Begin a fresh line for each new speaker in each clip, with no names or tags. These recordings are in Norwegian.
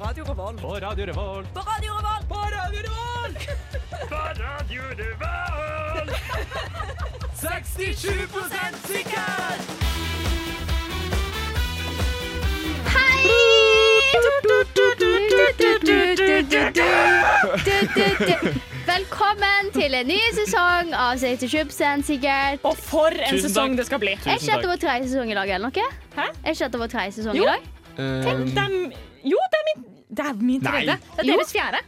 Radio Revolt.
På Radio Revolt.
På Radio Revolt. På Radio Revolt.
67
sikker!
Velkommen til en ny sesong av 67 sikkert.
Og for en
Tusen
sesong
takk.
det skal bli.
Er ikke dette vår tredje sesong i dag? eller noe?
Hæ?
Er ikke dette vår tredje sesong
Jo.
i dag?
Ehm,
Dem, jo, det er min, det er min
Nei.
tredje. Det er
Jo.
deres fjerde.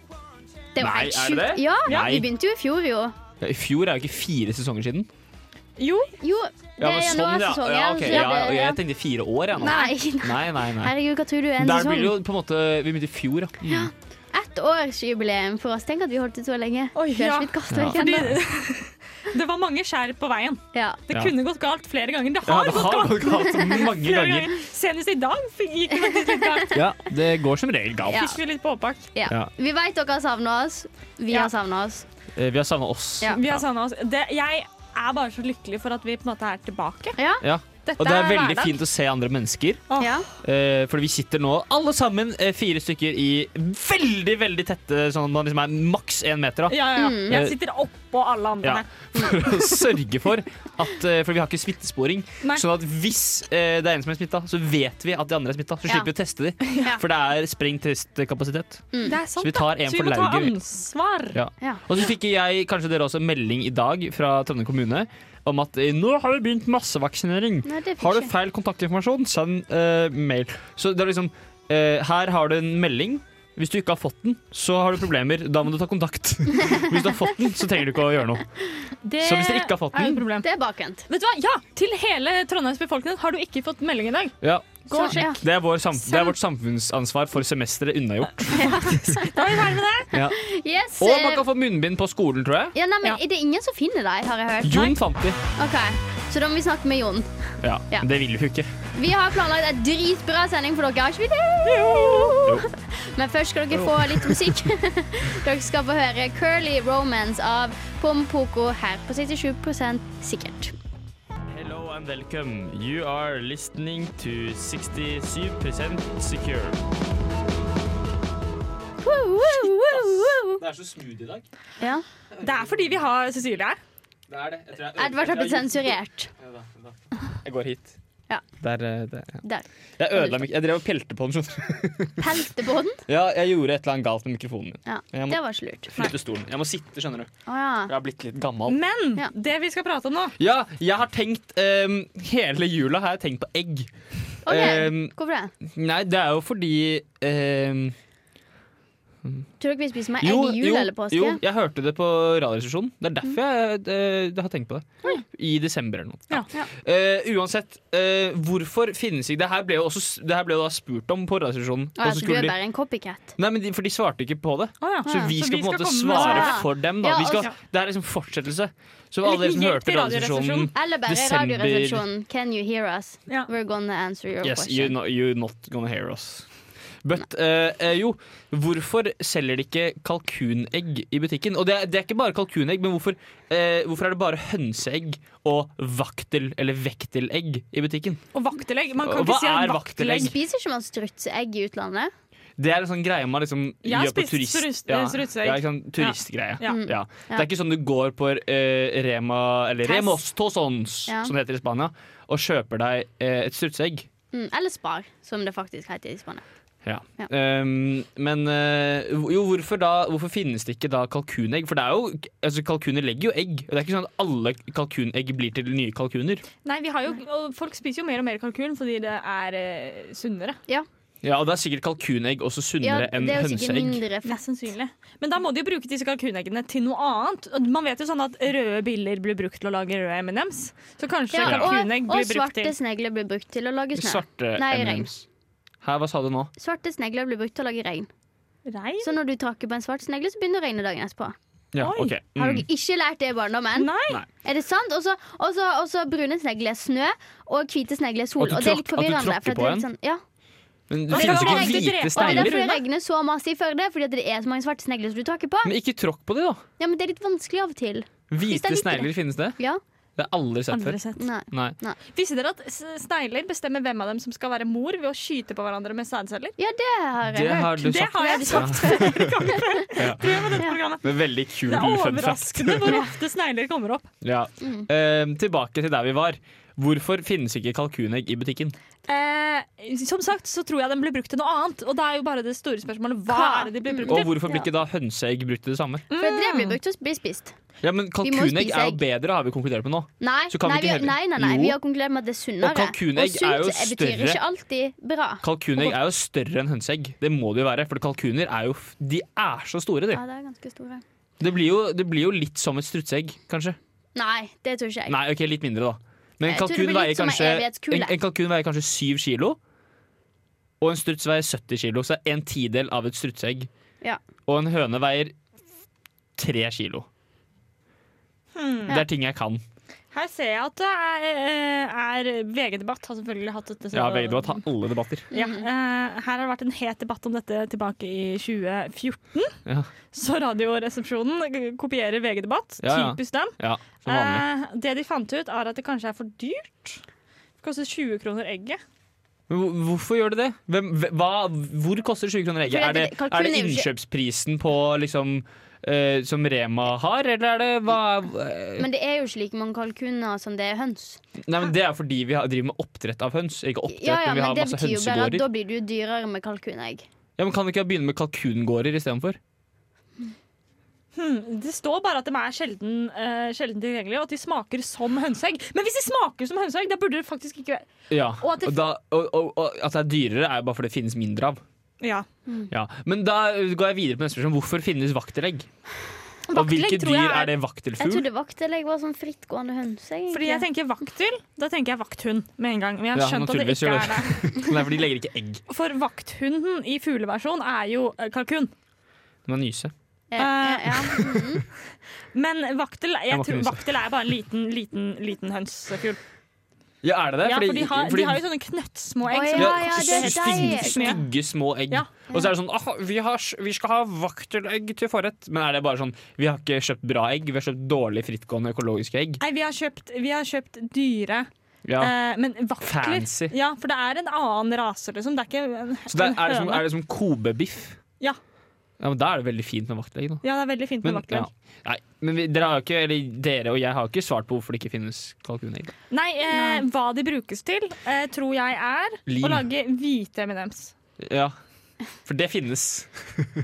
Det er jo
Nei,
helt
er
sjukt.
det det?
Ja,
Nei.
Vi begynte jo i fjor, jo.
I fjor er jo ikke fire sesonger siden.
Jo,
Jo, det
men sånn,
er januarsesongen.
ja, ok,
så
ja,
det-
ja, jeg tenkte fire år, jeg nå.
Nei, nei.
nei, nei. nei.
Herregud, hva tror du er en
Der blir det
sesong?
jo på en måte Vi begynte i fjor, da. Mm.
Ett årsjubileum for oss. Tenk at vi holdt ut så lenge.
Oi,
vi
ja.
har ikke blitt kastet
Ja.
vekk
fordi
ennå.
det var mange skjær på veien.
Ja.
Det
Ja.
kunne gått galt flere ganger. Det
Ja,
har
det
gått
har
galt.
gått galt mange
Flere
ganger.
ganger. Senest i dag fikk- gikk det faktisk litt galt.
Ja, det går som regel galt.
Ja.
Fikk vi litt påpakk.
Ja.
Ja.
Vi veit dere har savna oss. Vi
Ja.
har savna oss.
Eh, Vi har savna oss.
Ja.
Vi har savnet oss. Det, jeg er bare så lykkelig for at vi på en måte er tilbake.
Ja.
Ja.
Dette
Og det er veldig
hverdag.
fint å se andre mennesker.
Åh.
ja.
Eh, fordi vi sitter nå alle sammen, eh, fire stykker, i veldig veldig tette sånn at man liksom er maks én meter. Da.
Ja, ja, ja.
Mm.
Jeg sitter oppå alle andre.
Eh, Ja, for å sørge for at eh, For vi har ikke smittesporing.
Nei.
Sånn at hvis eh, det er en som er smitta, så vet vi at de andre er smitta. Så
Ja.
slipper vi å teste de.
Ja.
For det er sprengt testkapasitet.
Det er sant,
Så vi tar
da.
en
så vi
for
må ta
lauget, vi.
ansvar.
Ja.
Ja.
Og så fikk jeg kanskje dere også en melding i dag fra Trondheim kommune om at eh, nå har vi begynt massevaksinering.
Nei, det fikk
Har du
ikke.
feil kontaktinformasjon, send eh, mail. Så det er liksom eh, Her har du en melding. Hvis du ikke har fått den, så har du problemer. Da må du ta kontakt. Hvis du har fått den, så trenger du ikke å gjøre noe.
Det
Så hvis dere ikke har fått
er jo
den-
et problem.
Det er bakvendt.
Vet du hva? Ja, til hele Trondheims befolkning har du ikke fått melding i dag.
Ja,
Gå og
Så- ja.
sjekk.
Det er, vår sam det er vårt samfunnsansvar for semesteret unnagjort.
Da er vi ferdig med det.
Yes.
Og
eh,
man kan få munnbind på skolen, tror jeg.
ja, nei, men
Ja.
Det er ingen som finner deg, har jeg hørt.
Jon fant de.
Ok, Så da må vi snakke med Jon.
Ja,
Ja.
Det vil vi jo ikke.
Vi har planlagt en dritbra sending for dere. Har ikke vi det? Men først skal dere få litt musikk. dere skal få høre 'Curly Romance' av Pompoko her på 67 sikkert.
Hello and welcome. You are listening to 67 secure.
Woo, woo, woo, woo.
Det er så smooth i dag.
Ja.
Det er fordi vi har Cecilie her.
Det er det. Jeg tror jeg-
Edvard har blitt sensurert.
Ja, da, da. Jeg går hit.
Ja.
Der, eh, det, ja.
Der.
Jeg ødela mik Jeg drev og pelte på den. skjønner du.
Pelte på den.
Ja, jeg gjorde et eller annet galt med mikrofonen min.
Ja,
Jeg må
det var ikke lurt.
flytte stolen. Jeg må sitte, skjønner du.
Å ja.
Jeg har blitt litt gammel.
Men
Ja.
det vi skal prate om nå
Ja, jeg har tenkt ehm, Hele jula har jeg tenkt på egg.
OK,
Ehm,
hvorfor det?
nei, det er jo fordi ehm,
Tror dere vi spiser mer egg i jul eller påske?
jo, jeg hørte det på Radioresepsjonen. Det er
Mm.
derfor jeg eh, har tenkt på det. I desember eller noe.
Ja.
Ja.
Eh, uansett, eh, hvorfor finnes ikke Det her ble jo også s- det her ble jo da spurt om på Radioresepsjonen.
Å,
og
ja,
så
så du
skulle
er
de-
bare en copycat?
Nei, men de, For de svarte ikke på det.
Å ja.
Så vi
Så
skal
vi
på en
skal
måte
komme med
svare
svaret.
for dem. da
Ja,
vi skal,
altså.
Det er liksom fortsettelse. Så
En
alle dere
liten
som
hjelp
hørte
til
Radioresepsjonen
Radioresepsjonen.
Eller bare
Desember.
Radioresepsjonen. Can you hear us?
Ja.
We're gonna answer your
Yes, you
question.
no, you're not gonna hear us. But eh, eh, jo, hvorfor selger de ikke kalkunegg i butikken? Og det er, det er ikke bare kalkunegg, men hvorfor, eh, hvorfor er det bare hønseegg og vaktel- eller vektelegg i butikken?
Og vaktelegg. Man kan
Og
ikke
hva
si en
er
vaktelegg.
vaktelegg?
Spiser ikke man strutseegg i utlandet?
Det er en sånn greie man liksom
Jeg har
gjør på
spist
turist...
strus- strutseegg.
ja, ikke sånn turistgreie.
Ja.
Mm.
Ja. Det
Ja.
er ikke sånn du går på eh, Rema Eller
Tess.
Remos Tosons,
Ja.
som det heter i Spania, og kjøper deg eh, et strutseegg.
Mm, eller spar, som det faktisk heter i Spania.
Ja.
Ja.
Ehm, men eh, jo, hvorfor, da, hvorfor finnes det ikke da kalkunegg? For det er jo, altså, kalkuner legger jo egg. Det er ikke sånn at alle kalkunegg blir til nye kalkuner.
Nei, vi har jo, og folk spiser jo mer og mer kalkun fordi det er eh, sunnere.
Ja, og det er sikkert kalkunegg
Ja,
også sunnere enn
det er jo sikkert
hønseegg.
mindre fett.
Mest sannsynlig. Men da må de jo bruke disse kalkuneggene til noe annet. Og Man vet jo sånn at røde biller blir brukt til å lage røde M&M's. Så kanskje
Ja, og,
kalkunegg
og
blir brukt
svarte
til
snegler blir brukt til å lage snø.
Svarte
Nei, regn.
M&M's. Hæ, hva sa du nå?
Svarte snegler blir brukt til å lage regn.
regn.
Så når du tråkker på en svart snegle, så begynner det å regne dagen etterpå.
Ja,
Oi.
ok.
Har
Mm.
dere ikke lært det i barndommen?
Nei.
Nei.
Er det sant? Og så- Og så og så brune snegler er snø, og hvite snegler er sol.
Og at du
Og det er litt
tråkk- at du
forvirrende. for
tråkker
at det er
på
litt sånn, ja.
Nei,
Men det finnes
det
ikke
var egentlig
hvite
drept.
Og det er
snegler.
derfor det
Brune?
regner så masse i Førde, fordi at det er så mange svarte snegler som du tråkker på.
Men ikke tråkk på det, da.
Ja, men det er litt vanskelig av og til. Hvis det er
Hvite
litt-
snegler finnes det.
Ja.
Det har jeg aldri sett
Aldri
før.
sett.
Nei.
Nei.
Visste dere at s- snegler bestemmer hvem av dem som skal være mor ved å skyte på hverandre med sædceller?
Ja, det har jeg
Det
hørt.
har du
Det
sagt.
har jeg sagt flere ganger før. Tror jeg på dette
Ja.
programmet.
Med veldig kul
Det er
fun fact.
overraskende hvor ofte snegler kommer opp.
Ja.
Mm.
Eh, tilbake til der vi var. Hvorfor finnes ikke kalkunegg i butikken?
Eh, som sagt så tror jeg den ble brukt til noe annet, og det er jo bare det store spørsmålet hva
Hva?
er det de ble
Og
brukt til? Mm.
hvorfor blir ikke da hønseegg brukt til det samme?
For det blir brukt til å bli spist.
Ja, men
må
Kalkunegg
spise
er jo
egg.
bedre, har vi konkludert med nå.
Nei,
Så kan vi
nei,
ikke heller-
nei, nei, nei.
Jo.
vi har konkludert med at det er sunnere.
Og kalkunegg
sunt
er jo
betyr
større.
ikke alltid bra.
Kalkunegg er jo større enn hønseegg. Det må det jo være, for kalkuner er jo f- De er så store, de.
Ja, det er ganske store.
Det blir jo, det blir jo litt som et strutseegg, kanskje.
Nei, det tror ikke jeg.
Nei, ok, litt mindre, da. Men en
Jeg tror det
kalkun
blir
veier
litt som en
kanskje
evighetskule.
en, en kalkun veier kanskje syv kilo. Og en struts veier 70 kilo, så det er en tidel av et strutseegg.
Ja.
Og en høne veier tre kilo.
Hmm.
Det er ting jeg kan.
Her ser jeg at det er, eh, er VG-debatt har selvfølgelig hatt dette. så-
Ja, begge to har tatt alle debatter.
Ja, eh, her har det vært en het debatt om dette tilbake i 2014.
Ja.
Så Radioresepsjonen kopierer VG-debatt.
Ja, ja.
Typisk dem.
Ja, som vanlig.
Eh, det de fant ut, er at det kanskje er for dyrt. Det koster 20 kroner egget.
Men hvor- hvorfor gjør det det? Hvem, hve- hva, hvor koster 20 kroner egget?
Fordi
Er det,
det- kalkun
er
er
det
jo ikke-
innkjøpsprisen på liksom eh, som Rema har, eller er det hva eh,
Men det er jo ikke like mange kalkuner som det er høns.
Nei, men Det er fordi vi har, driver med oppdrett av høns, ikke oppdrett
Ja, ja,
når vi
men
har
det
masse
betyr jo bare at
hønsegårder.
da blir det jo dyrere med kalkunegg.
Ja, men Kan vi ikke begynne med kalkungårder istedenfor?
Hmm, det står bare at de er sjelden, eh, sjelden tilgjengelige, og at de smaker som hønseegg. Men hvis de smaker som hønseegg, da burde det faktisk ikke være
Ja.
Og at det-
Og da, og, og, og, at det er dyrere, er jo bare fordi det finnes mindre av.
Ja.
Ja. Men da går jeg videre på neste spørsmål. Hvorfor finnes vaktelegg? Og hvilke
tror jeg
dyr er det
Jeg
vaktelfugl?
trodde vaktelegg var sånn frittgående høns. egentlig.
Fordi jeg tenker vakthund, da tenker jeg vakthund med en gang. Men jeg har
Ja,
skjønt at det
naturligvis
ikke
gjør
er det.
Nei, for de legger ikke egg.
For vakthunden i fugleversjon er jo eh, kalkun.
De må nyse.
ja, ja, Mm. ja.
Men vaktel, jeg
Jeg må ikke
tror,
nyse.
vaktel er bare en liten, liten, liten hønsefugl.
Ja, er det det?
Ja, for de har,
fordi-
de har jo sånne knøttsmå
Å,
egg.
ja,
som-
Ja,
ja, det er
stygge,
deg.
stygge små egg.
Ja.
Og så er det sånn «Aha, vi, har, vi skal ha vaktelegg til forrett. Men er det bare sånn Vi har ikke kjøpt bra egg, vi har kjøpt dårlig frittgående økologiske egg.
Nei, vi har kjøpt, vi har kjøpt dyre,
Ja.
eh, men vakler
Fancy.
Ja, for det er en annen rase, liksom. Det er ikke en,
Så det er,
en
er, det som,
høne.
er det som kobebiff?
Ja.
Ja, men Da er det veldig fint med vaktelegg. Da.
Ja, det er veldig fint med
Men, ja.
vakler.
Nei, men vi, dere, har jo ikke, eller, dere og jeg har jo ikke svart på hvorfor det ikke finnes kalkunegg.
Nei, eh, hva de brukes til, eh, tror jeg er
Lim.
å lage hvite M&M's.
Ja. For det finnes.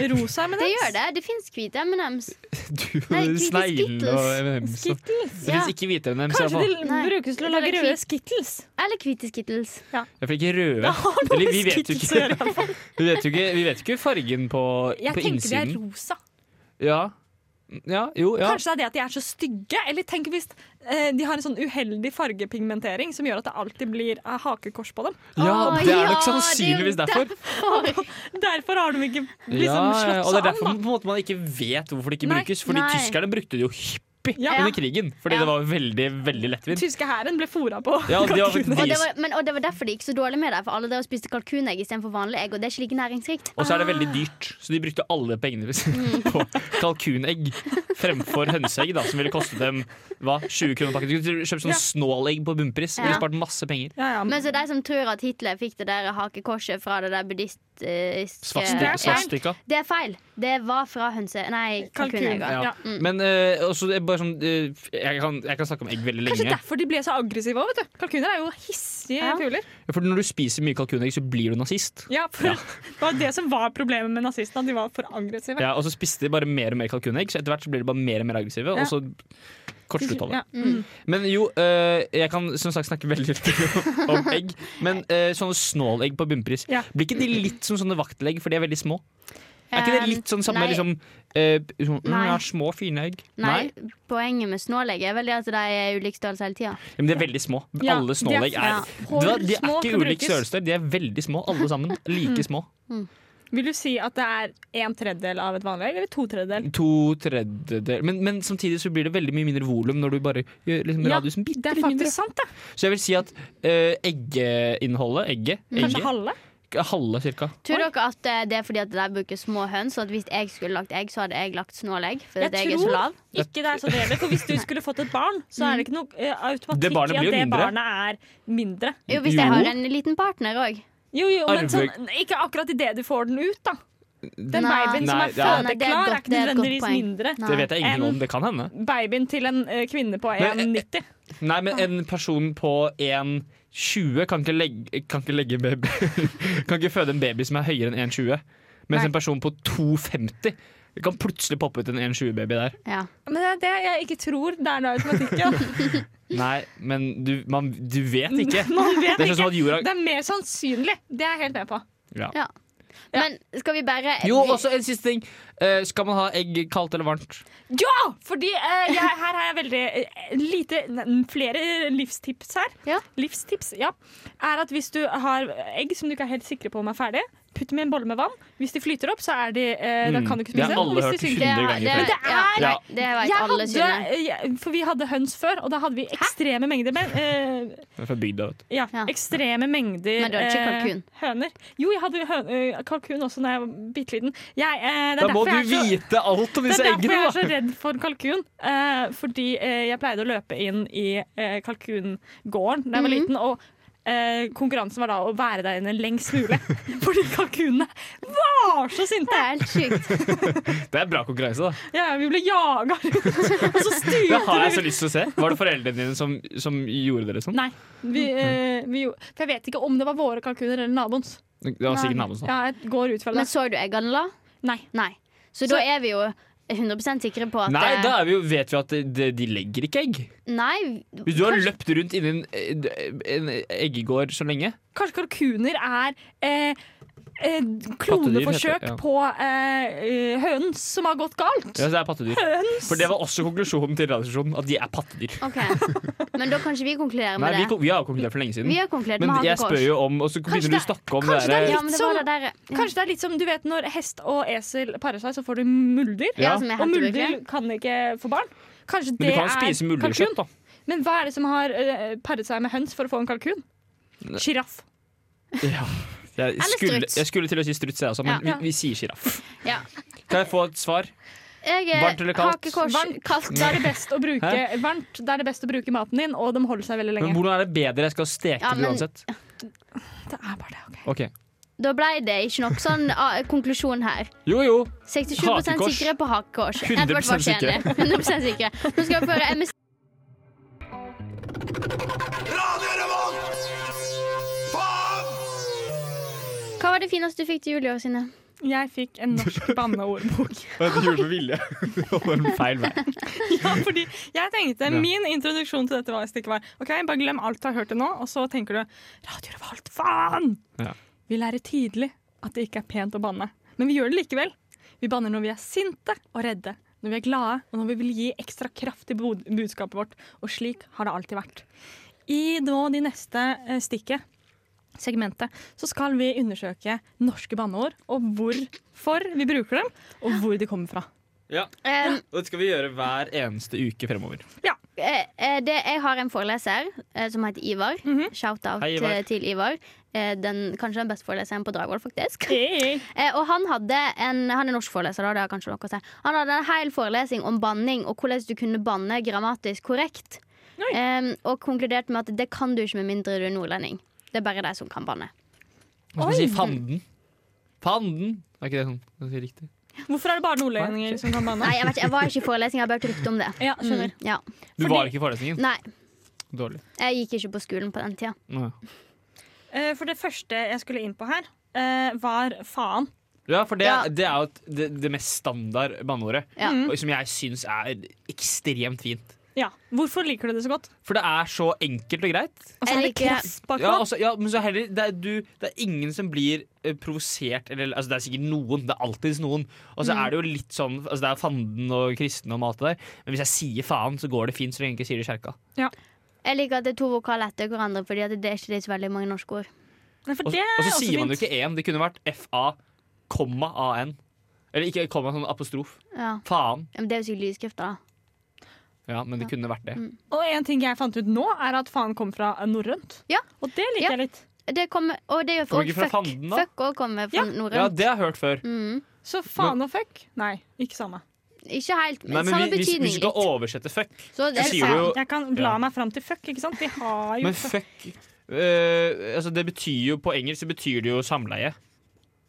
Rosa M&M's.
Det gjør det. Det fins hvite M&Ms.
Du,
Nei, hvite
Sneglene og
Skittles.
M&M's. og-
Skittles.
Det sånn.
Ja.
finnes ikke hvite M&M's. i hvert
Kanskje
fall.
de
Nei.
brukes til å
Det er
lage
litt
røde
fint.
skittles.
Eller hvite skittles.
sånn, Jeg fikk ikke røde. Eller vi vet jo ikke. Vi vet jo ikke, vi vet jo ikke fargen på,
Jeg
på
tenker de er
innsiden.
rosa.
Ja. ja, jo, ja.
Kanskje det er det at de er så stygge. Eller tenk hvis eh, de har en sånn uheldig fargepigmentering som gjør at det alltid blir eh, hakekors på dem.
ja
Å, ja,
det er nok
det er jo
sannsynligvis derfor.
Derfor har de ikke liksom,
Ja, ja,
slått
og det er
seg
derfor
an. da.
på en måte, man ikke vet hvorfor det ikke
Nei,
brukes. Fordi
nei.
tyskerne brukte det jo hyppig
Ja.
under krigen, fordi
Ja.
det var veldig veldig lettvint.
Tyske hæren ble fora på
Ja, og de har
kalkuner.
faktisk-
Og det, var, men, og det var derfor det gikk så dårlig med deg, for alle dere spiste kalkunegg istedenfor vanlig egg, og det er ikke like næringsrikt.
Og så er det veldig dyrt, så de brukte alle pengene sine på kalkunegg fremfor hønseegg, da, som ville kostet dem hva, 20 kroner pakken. Du kunne kjøpt
Ja.
sånn snålegg på bunnpris, ville
Ja.
spart masse penger.
Ja, ja.
Men så de som tror at Hitler fikk det der hakekorset fra det der buddhistiske
Svasti-
Det er feil.
Svastika.
Det er feil. Det var fra hønse... Nei,
Kalkun.
kalkunegg.
Ja.
Ja. Men eh, også, det er bare sånn eh, jeg, kan, jeg kan snakke om egg veldig
Kanskje
lenge.
derfor de ble så aggressive òg, vet du. Kalkuner er jo hissige
Ja.
fugler.
For når du spiser mye kalkunegg, så blir du nazist.
Ja, for Det var det som var problemet med nazistene, at de var for aggressive.
Ja, og så spiste de bare mer og mer kalkunegg, så etter hvert så blir de bare mer og mer aggressive. Og så kortslutta det.
Ja. Mm.
Men jo, øh, jeg kan som sagt snakke veldig lite om, om egg. Men øh, sånne snålegg på bunnpris,
Ja.
blir ikke de litt som sånne vaktelegg, for de er veldig små? Er ikke
Eh,
det
Um,
litt sånn samme
nei.
liksom, øh, sånn, mm,
Nei.
ja, Små, fine egg?
Eh, Nei, poenget med snålegg er vel det at de er ulik størrelse hele tida.
Ja, men de er veldig små.
Ja,
alle
de er
snålegg er,
små.
Det var- De er
Hårsmå
ikke
kan brukes.
ulik
Mm.
størrelse, de er veldig små alle sammen. Like små.
Vil du si at det er en tredjedel av et vanlig egg, eller to tredjedel?
To tredjedeler men, men samtidig så blir det veldig mye mindre volum når du bare gjør liksom,
Ja,
radiusen bitte
Det er
litt mindre.
faktisk sant, det.
eh, Så jeg vil si at øh, eggeinnholdet, egget,
Mm. Kanskje
egget
halve?
cirka, halve cirka.
Tror dere at eh, det er fordi at de bruker små høns? Og at hvis jeg skulle lagt egg, så hadde jeg lagt snålegg? Fordi
Jeg
at jeg er så
tror
lav?
ikke det er sånn det gjelder. For hvis du skulle fått et barn, så er det ikke noe eh,
Det
automatikk
barnet
i
blir jo
at det
mindre.
barnet er mindre.
Jo, hvis
Jo.
jeg har en liten partner òg.
Jo, jo, men
Arve-
sånn, ikke akkurat idet du får den ut, da. Den
Nei.
babyen som er
Nei, det er-
Nei, det er et
fødeklar, er
godt-
ikke
det er et godt
nødvendigvis
poeng.
mindre.
Nei.
Det vet jeg ingenting om. Det kan hende.
Babyen til en eh, kvinne på
Men, eh,
1,90.
Nei, men en person på 1,20 kan ikke legge, kan ikke legge en baby Kan ikke føde en baby som er høyere enn 1,20. Mens
Nei.
en person på 2,50 kan plutselig poppe ut en 1,20-baby der.
Ja.
Men det er det jeg ikke tror det er noe automatikk i. da.
Nei, men du, man, du vet ikke.
Man vet
Det er sånn som
ikke.
at jorda
Det er mer sannsynlig. Det er jeg helt med på.
ja.
Ja. Men skal vi bare
Jo, også en siste ting. Eh, skal man ha egg kaldt eller varmt?
Ja! Fordi eh, jeg, her har jeg veldig eh, lite n- Flere livstips her.
Ja.
Livstips, ja. Er at hvis du har egg som du ikke er helt sikre på om er ferdig, putt dem i en bolle med vann. Hvis de flyter opp, så er de, eh, da
Mm.
kan du ikke
Det
spise
har
dem.
alle
og hvis
hørt
de synker-
hundre ganger før.
Men det er-
ja, det vet
Jeg
alle
hadde,
sine.
jeg, for vi hadde høns før, og da hadde vi ekstreme mengder men, eh,
Det er fra bygda, vet du.
ja,
Ja.
ekstreme mengder
Men du hadde ikke
eh,
kalkun?
høner. Jo, jeg hadde høn, eh, kalkun også da jeg var bitte liten. Jeg, eh, det er
Da må
derfor
du
jeg er så-
vite alt om
Det
disse
er derfor
eggene,
jeg er
da!
så redd for kalkun. eh, fordi eh, jeg pleide å løpe inn i eh, kalkungården da jeg var
Mhm.
liten. og eh, konkurransen var da å være der inne lengst mulig. Fordi kalkunene var så
Det
sinte!
er helt sjukt.
Det er bra konkurranse, da.
Ja, vi ble jaga rundt. Og så
Det
styrte
har jeg så lyst til å se. Var det foreldrene dine som, som gjorde dere sånn?
Nei. Vi, eh, vi, gjorde- for jeg vet ikke om det var våre kalkuner eller naboens.
Det var sikkert
Nei.
naboen som sa.
Ja, jeg går ut fra
Men
det.
så du eggene, da?
Nei.
Nei. Så,
Så-
da er vi jo 100 sikre på at
Nei,
eh,
da er vi jo, vet vi at de, de legger ikke egg.
Nei,
Hvis du har
kanskje-
løpt rundt inni en, eh, en eggegård så lenge
Kanskje kalkuner er eh, eh,
Pattedyr heter
kloneforsøk
det, ja.
på eh, eh, høns som har gått galt.
Ja, så det er pattedyr. For det var også konklusjonen til Radiostasjonen, at de er pattedyr.
Ok, Men da kan ikke vi konkludere
Nei,
med
vi,
det.
kon- vi har konkludert for lenge siden.
Vi har konkludert
Men
med
jeg spør
hakekors.
jo om Og så
Kanskje
begynner du
det-
å snakke om det
kanskje
der
det er
Ja, men det var det der ja.
Kanskje det er litt som du vet når hest og esel parer seg, så får du muldyr.
Ja,
Ja.
som er
Og
helt
muldyr
ubrukelig.
kan ikke få barn. Kanskje
Men
det
du kan jo spise
er kalkun.
muldyrkjøtt, da.
Men hva er det som har eh, paret seg med høns for å få en kalkun? Sjiraff.
Ja. Jeg
Eller
skulle,
struts.
jeg skulle til å si struts, jeg også, men
Ja.
vi, vi sier sjiraff.
Ja.
Kan jeg få et svar?
Jeg er
Varmt eller kaldt?
Hakekors.
Varmt.
Kaldt.
Da er det best å bruke
Hæ?
varmt, da er det best å bruke maten din, og de holder seg veldig
Men
lenge.
hvordan er det bedre? Jeg skal steke
Ja, men-
det uansett.
Det er bare det, ok.
Ok.
Da ble det ikke nok sånn ah, konklusjon her.
Jo, jo.
67
Hakekors.
sikre på hakekors.
100%
Edvard var ikke enig. 100 sikre. Nå skal vi føre MS...
Radio Revolt! Faen!
Hva var det fineste du fikk til jul i år, Synne?
Jeg fikk en norsk banneordbok.
Du gjorde det med vilje. Det var en feil vei.
ja, fordi jeg tenkte
Ja.
Min introduksjon til dette var stikk var OK, bare glem alt du har hørt til nå, og så tenker du Radio Revolt, faen!
Ja.
Vi lærer tidlig at det ikke er pent å banne, men vi gjør det likevel. Vi banner når vi er sinte og redde, når vi er glade, og når vi vil gi ekstra kraft til bod- budskapet vårt. Og slik har det alltid vært. I nå de neste eh, stikket segmentet, så skal vi undersøke norske banneord, og hvorfor vi bruker dem, og hvor de kommer fra.
Ja,
Um,
og Det skal vi gjøre hver eneste uke fremover.
Eh, eh, det, jeg har en foreleser eh, som heter Ivar. Shout-out
Hei, Ivar.
eh, til Ivar. Eh, den, kanskje den beste foreleseren på Dragvoll, faktisk.
Hey.
Eh, og han hadde en Han er norsk foreleser, da, det har kanskje noe å si. Han hadde en hel forelesning om banning og hvordan du kunne banne grammatisk korrekt.
Oi.
Eh, og konkludert med at det kan du ikke med mindre du er nordlending. Det er bare de som kan banne.
Man
Oi.
skal si fanden. Fanden. Er ikke det sånn? Det er riktig.
Hvorfor er det bare nordlendinger som kan banne?
Nei, jeg, vet ikke, jeg var ikke i forelesning, jeg har bare hørt rykte om det.
Ja, skjønner.
Mm, ja.
Du
Fordi-
var ikke i forelesningen?
Nei,
Dårlig.
jeg gikk ikke på skolen på den tida.
Nå, ja.
Eh, For det første jeg skulle inn på her, eh, var faen.
Ja, for det,
Ja.
det er jo et- det, det mest standard banneordet.
Ja.
Mm.
og Som jeg syns er ekstremt fint.
Ja. Hvorfor liker du det så godt?
For det er så enkelt og greit.
Og så
Jeg
er det
liker-
kraft bak
Ja,
nå.
altså, ja, men så heller, det, er du, det er ingen som blir eh, provosert eller, altså, Det er sikkert noen, det er alltids noen. Og så er det jo litt sånn altså, Det er fanden og kristen og mat der. Men hvis jeg sier faen, så går det fint så lenge jeg ikke sier det i kjerka.
Jeg liker at det er to vokaler etter hverandre, Fordi at det er ikke det er så veldig mange norske ord.
Nei, for
Og,
det er
og så
også
altså, sier man jo
fint.
ikke én. Det kunne vært fa, komma, an. Eller ikke komma, sånn apostrof.
Ja.
Faen.
Ja, Men det er jo sikkert lydskrifter, da.
Ja, men det kunne vært det.
Og en ting jeg fant ut nå, er at faen kom fra norrønt.
Ja.
Og det liker
Ja.
jeg litt.
det kommer Og det gjør
Kommer ikke
og
fra
fuck.
fanden, da?
Fuck òg kommer fra
Ja.
Ja,
norrønt.
det har jeg hørt før.
Mm.
Så faen og fuck? Nei, ikke samme.
Ikke helt, men,
Nei, men
samme
vi- hvis, hvis
betydning
du skal
litt.
oversette fuck
Så det
så
er
sier du
faen.
jo
Jeg kan bla
Ja.
meg fram til fuck, ikke sant? De har jo
Men fuck eh, altså det betyr jo, På engelsk så betyr det jo samleie.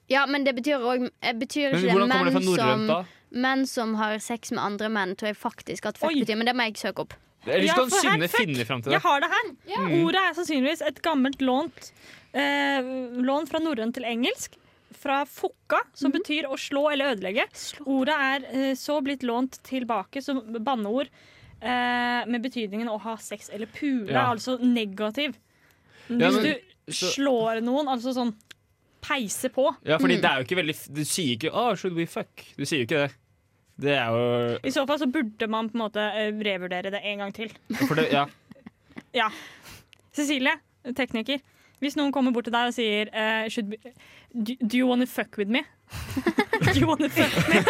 Ja, men det betyr òg Betyr
Men
ikke
hvordan
det
kommer det fra
menn
norrønt,
som
da?
Menn som har sex med andre menn, tror jeg faktisk at fuck
Oi.
betyr, men det må jeg søke opp.
Eller
Ja,
skal
for her,
Synne
fuck.
finne sånn fram til
Jeg
det?
har det her.
Mm.
Ordet er sannsynligvis et gammelt lånt eh, lån fra norrønt til engelsk. Fra fukka, som betyr å slå eller ødelegge. Ordet er eh, så blitt lånt tilbake som banneord eh, med betydningen å ha sex eller pule,
Ja.
altså negativ. Hvis
Ja, men-
du
så-
slår noen, altså sånn peise på.
Ja, fordi det er jo ikke veldig f- Du sier ikke oh, 'should we fuck'? Du sier jo ikke det. Det er jo
I så fall så burde man på en måte eh, revurdere det en gang til.
For det, ja.
Ja. Cecilie, tekniker. Hvis noen kommer bort til deg og sier eh, should be, do, do you wanna fuck with me? do you wanna fuck me?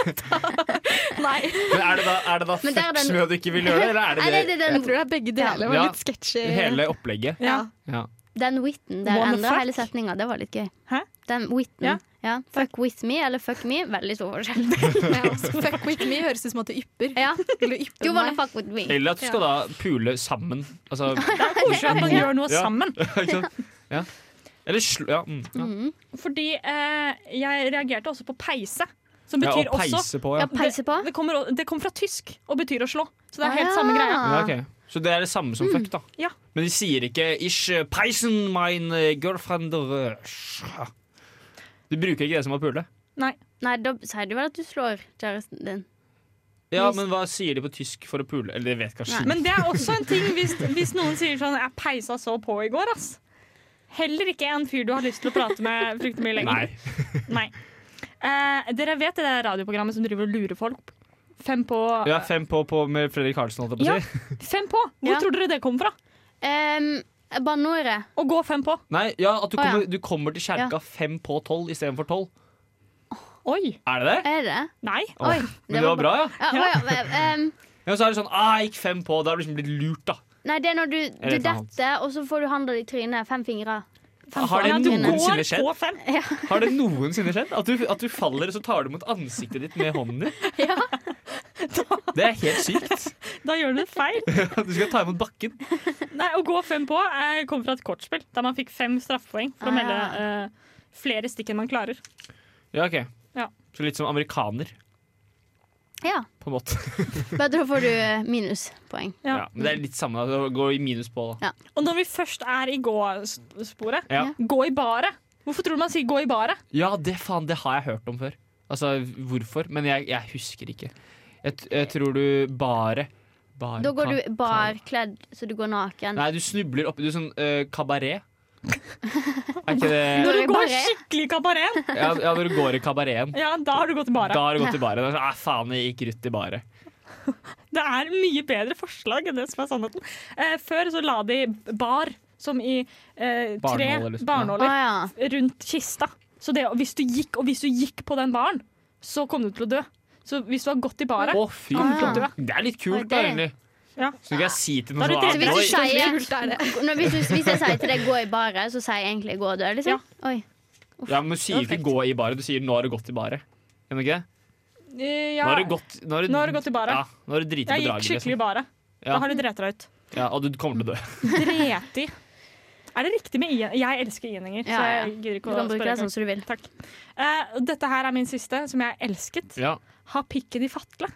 Nei.
Men er det da, er det da
Men der er
fuck
den-
som gjør at du ikke vil gjøre det, eller er det
Nei,
det,
det, er
Jeg
den,
tror det er begge deler. Det var
Ja.
litt sketsjy.
hele opplegget?
Ja.
Ja.
den witten der
Wanna
endra
fuck?
hele setninga. Det var litt gøy.
Hæ?
Den witten.
Ja.
Ja. Fuck with me eller fuck me. Veldig stor forskjell.
Ja, også fuck with me høres ut som at du ypper.
Ja.
Vil du yppe
Do you wanna
meg?
fuck with me?
Eller at du skal da pule sammen. Altså
Det er koselig at man gjør noe
Ja.
sammen.
ikke sant? ja. Eller slå ja, mm, ja.
Fordi eh, jeg reagerte også på peise, som
ja.
betyr
Og
også
peise på,
Ja,
ja.
peise på.
Det, det, kommer, o- det kommer fra tysk og betyr å slå. Så det er helt
Ah.
samme greia.
ja ok. Så det er det samme som fuck, da.
Ja.
Men de sier ikke 'ish peisen mine girlfriend'. uh, sja». De bruker ikke det som å pule.
Nei.
Nei, da sier du vel at du slår kjæresten din.
Ja, men hva sier de på tysk for å pule? Eller det vet kanskje
Men det er også en ting hvis, hvis noen sier sånn Jeg peisa så på i går, ass. Heller ikke en fyr du har lyst til å prate med fryktelig mye lenger.
Nei.
Nei. Eh, dere vet det der radioprogrammet som driver og lurer folk? Fem på.
Ja, fem på, på med Fredrik Karlsen, holdt jeg på å
Ja.
si.
Fem på? Hvor
Ja.
tror dere det kommer fra?
Um, Banneordet.
Å gå fem på.
Nei, ja, at du
Å, ja.
kommer, du kommer til kjerka
Ja.
fem på tolv istedenfor tolv.
Oi.
Er det det?
Er det?
Nei.
Å,
Oi,
men det var bra, ja.
Ja, ehm, å, ja. em,
ja. Så er det sånn ah, jeg gikk fem på. Da er du liksom blitt lurt, da.
nei, det er når du,
Er
du
det sant?
detter, og så får du handel i trynet. Fem fingre.
Fem
Har
på.
det
Ja, du
noensinne
går
skjedd?
På fem.
Har det noensinne skjedd? At du, at du faller, og så tar du mot ansiktet ditt med hånden din? Det er helt sykt.
Da gjør du det feil.
Du skal ta imot bakken.
Nei, Å gå fem på eh, kommer fra et kortspill der man fikk fem straffepoeng for å
Ah, ja.
melde eh, flere stikk enn man klarer.
Ja, ok.
Ja.
Så litt som amerikaner,
Ja.
på en måte.
Men da får du eh, minuspoeng.
Ja.
Ja, men det er litt samme. da. Gå i minus på, da.
Og når vi først er i gå-sporet
Ja.
gå i baret. Hvorfor tror du man sier gå i baret?
Ja, det faen, det har jeg hørt om før. Altså, hvorfor? Men jeg, jeg husker ikke. Jeg, t- jeg tror du bare bare
Da går
kan-
du barkledd så du går naken.
Nei, du snubler oppi Du er sånn eh, kabaret. Er
Gå
ikke det
Når
i
du går
baret.
skikkelig i kabareten,
Ja, ja når du går i kabareten.
ja, da har du gått i
Da
baret.
har du gått i baret. Da er det sånn, «Ah, faen, jeg gikk rutt i baret.
Det er mye bedre forslag enn det som er sannheten. Eh, før så la de bar, som i eh, tre
Barnåler,
Å,
liksom.
barnåler,
ja.
rundt kista. Så det, og hvis du gikk, og hvis du gikk på den baren, så kom du til å dø. Så hvis du har gått i
Å,
baret
fy
Ah, ja.
faen. Det er litt
Oi,
kult, da,
det-
egentlig.
Ja.
Så kan jeg si til
Da
noen
er det
sånn,
det
«Ah,
vi
oi,
sier.
Kult er det.
Når, hvis, du, hvis jeg sier til deg 'gå i baret', så sier jeg egentlig 'gå og dø'. Liksom. Oi.
Ja, men du sier ikke 'gå i baret', du sier 'nå har du gått i baret'. Gjør du ikke det?
eh,
Nå
ja,
har du gått, nå har du,
Nå har du gått i baret.
Ja, nå har du driti på
Jeg gikk
draget.
skikkelig i
Liksom.
baret.
Ja.
Da har du drept deg ut.
Ja, og du kommer til å dø.
Dreti. Er det riktig med i-en? Jeg elsker i-endinger,
Ja,
så
ja.
jeg gidder
Du
ikke å
kan bruke
spørre.
det sånn som du vil.
Takk. Eh, dette her er min siste, som jeg elsket.
Ja.
Ha pikken i fatle.